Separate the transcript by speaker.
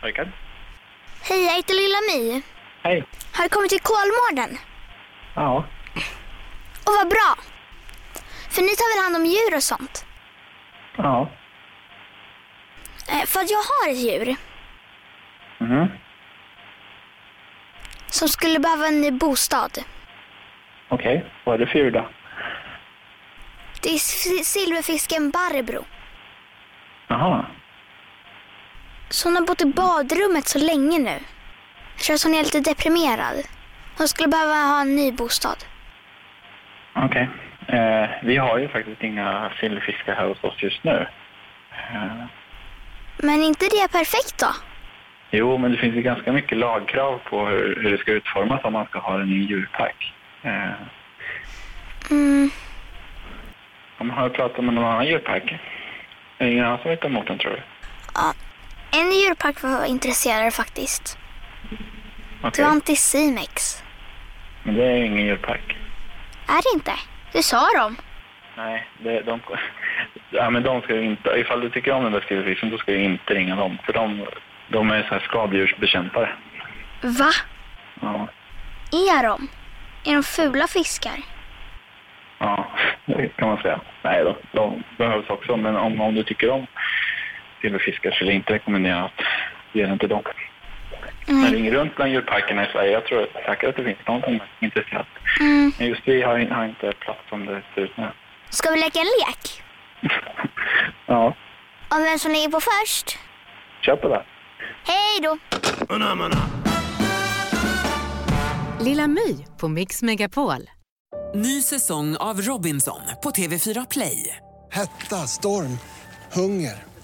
Speaker 1: Rickard?
Speaker 2: Hej, jag heter Lilla My.
Speaker 1: Hej.
Speaker 2: Har du kommit till Kolmården?
Speaker 1: Ja.
Speaker 2: Och vad bra! För ni tar väl hand om djur och sånt?
Speaker 1: Ja.
Speaker 2: Eh, För att jag har ett djur
Speaker 1: Mhm.
Speaker 2: som skulle behöva en ny bostad.
Speaker 1: Okej. Vad är det för djur då?
Speaker 2: Det är si- silverfisken Barbro.
Speaker 1: Jaha.
Speaker 2: Så hon har bott i badrummet så länge nu. Jag tror att hon är lite deprimerad. Hon skulle behöva ha en ny bostad.
Speaker 1: Okej. Eh, vi har ju faktiskt inga silverfiskar här hos oss just nu. Eh,
Speaker 2: Men är inte det perfekt då?
Speaker 1: jo, men det finns ju ganska mycket lagkrav på hur, hur det ska utformas om man ska ha en ny djurpark. Eh,
Speaker 2: Mm,
Speaker 1: om man har pratat med någon annan djurpark? Är det ingen annan som vet emot den, tror du?
Speaker 2: en djurpark var intresserad faktiskt. Det
Speaker 1: Okej.
Speaker 2: var Anticimex.
Speaker 1: Men det är ju ingen djurpark.
Speaker 2: Är det inte? Det sa de.
Speaker 1: Nej, det, de... Ja, men de ska ju inte... Ifall du tycker om den där silverfisken, då ska du inte ringa dem. För de, de är så här skadedjursbekämpare.
Speaker 2: Va?
Speaker 1: Ja.
Speaker 2: Är de? Är de fula fiskar?
Speaker 1: Ja, det kan man säga. Nej då, de behövs också. Men om, om du tycker om silverfiskar skulle jag inte rekommendera att ge den till dem. Men ring runt bland djurparkerna i Sverige. Jag tror säkert att det finns någon som är intresserad.
Speaker 2: Mm.
Speaker 1: Men just vi har, in- har inte plats som det ser ut nu.
Speaker 2: Ska vi leka en lek?
Speaker 1: Ja,
Speaker 2: Om vem som ligger på först?
Speaker 1: kör på det.
Speaker 2: Hej då!
Speaker 3: Lilla My på Mix Megapol.
Speaker 4: Ny säsong av Robinson på TV4 Play.
Speaker 5: Hetta, storm, hunger.